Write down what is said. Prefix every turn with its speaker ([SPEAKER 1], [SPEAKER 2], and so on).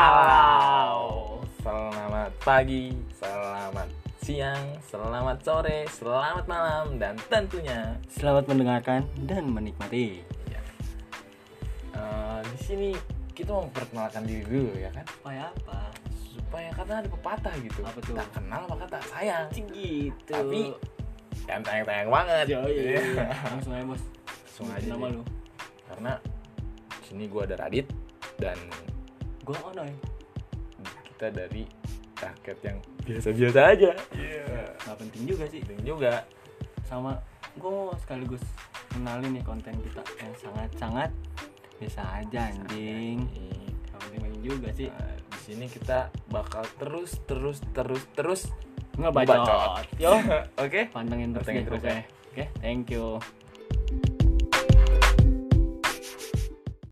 [SPEAKER 1] Halo.
[SPEAKER 2] Selamat pagi, selamat siang, selamat sore, selamat malam, dan tentunya
[SPEAKER 1] Selamat mendengarkan dan menikmati.
[SPEAKER 2] eh, di sini kita mau memperkenalkan diri dulu ya kan,
[SPEAKER 1] Supaya apa?
[SPEAKER 2] supaya karena ada pepatah gitu.
[SPEAKER 1] Apa tuh?
[SPEAKER 2] Tak kenal maka tak sayang.
[SPEAKER 1] Gitu.
[SPEAKER 2] Tapi yang tayang-tayang banget.
[SPEAKER 1] Yo, iya,
[SPEAKER 2] Iya.
[SPEAKER 1] iya. langsung aja bos.
[SPEAKER 2] Langsung aja.
[SPEAKER 1] Nama
[SPEAKER 2] deh.
[SPEAKER 1] lu.
[SPEAKER 2] Karena di sini gua ada Radit dan
[SPEAKER 1] Gua eh. Onoy.
[SPEAKER 2] kita dari rakyat yang biasa-biasa aja. Iya.
[SPEAKER 1] Gak penting juga sih.
[SPEAKER 2] Penting juga.
[SPEAKER 1] Sama gua sekaligus kenalin nih konten kita yang sangat-sangat biasa aja anjing.
[SPEAKER 2] Ini
[SPEAKER 1] Gak penting juga sih.
[SPEAKER 2] Nah, di sini kita bakal terus terus terus terus
[SPEAKER 1] Ngebacot.
[SPEAKER 2] bacot.
[SPEAKER 1] Yo.
[SPEAKER 2] oke
[SPEAKER 1] Pantengin terus nih.
[SPEAKER 2] Pantengin terus
[SPEAKER 1] Oke.
[SPEAKER 2] ya.
[SPEAKER 1] Oke, thank you.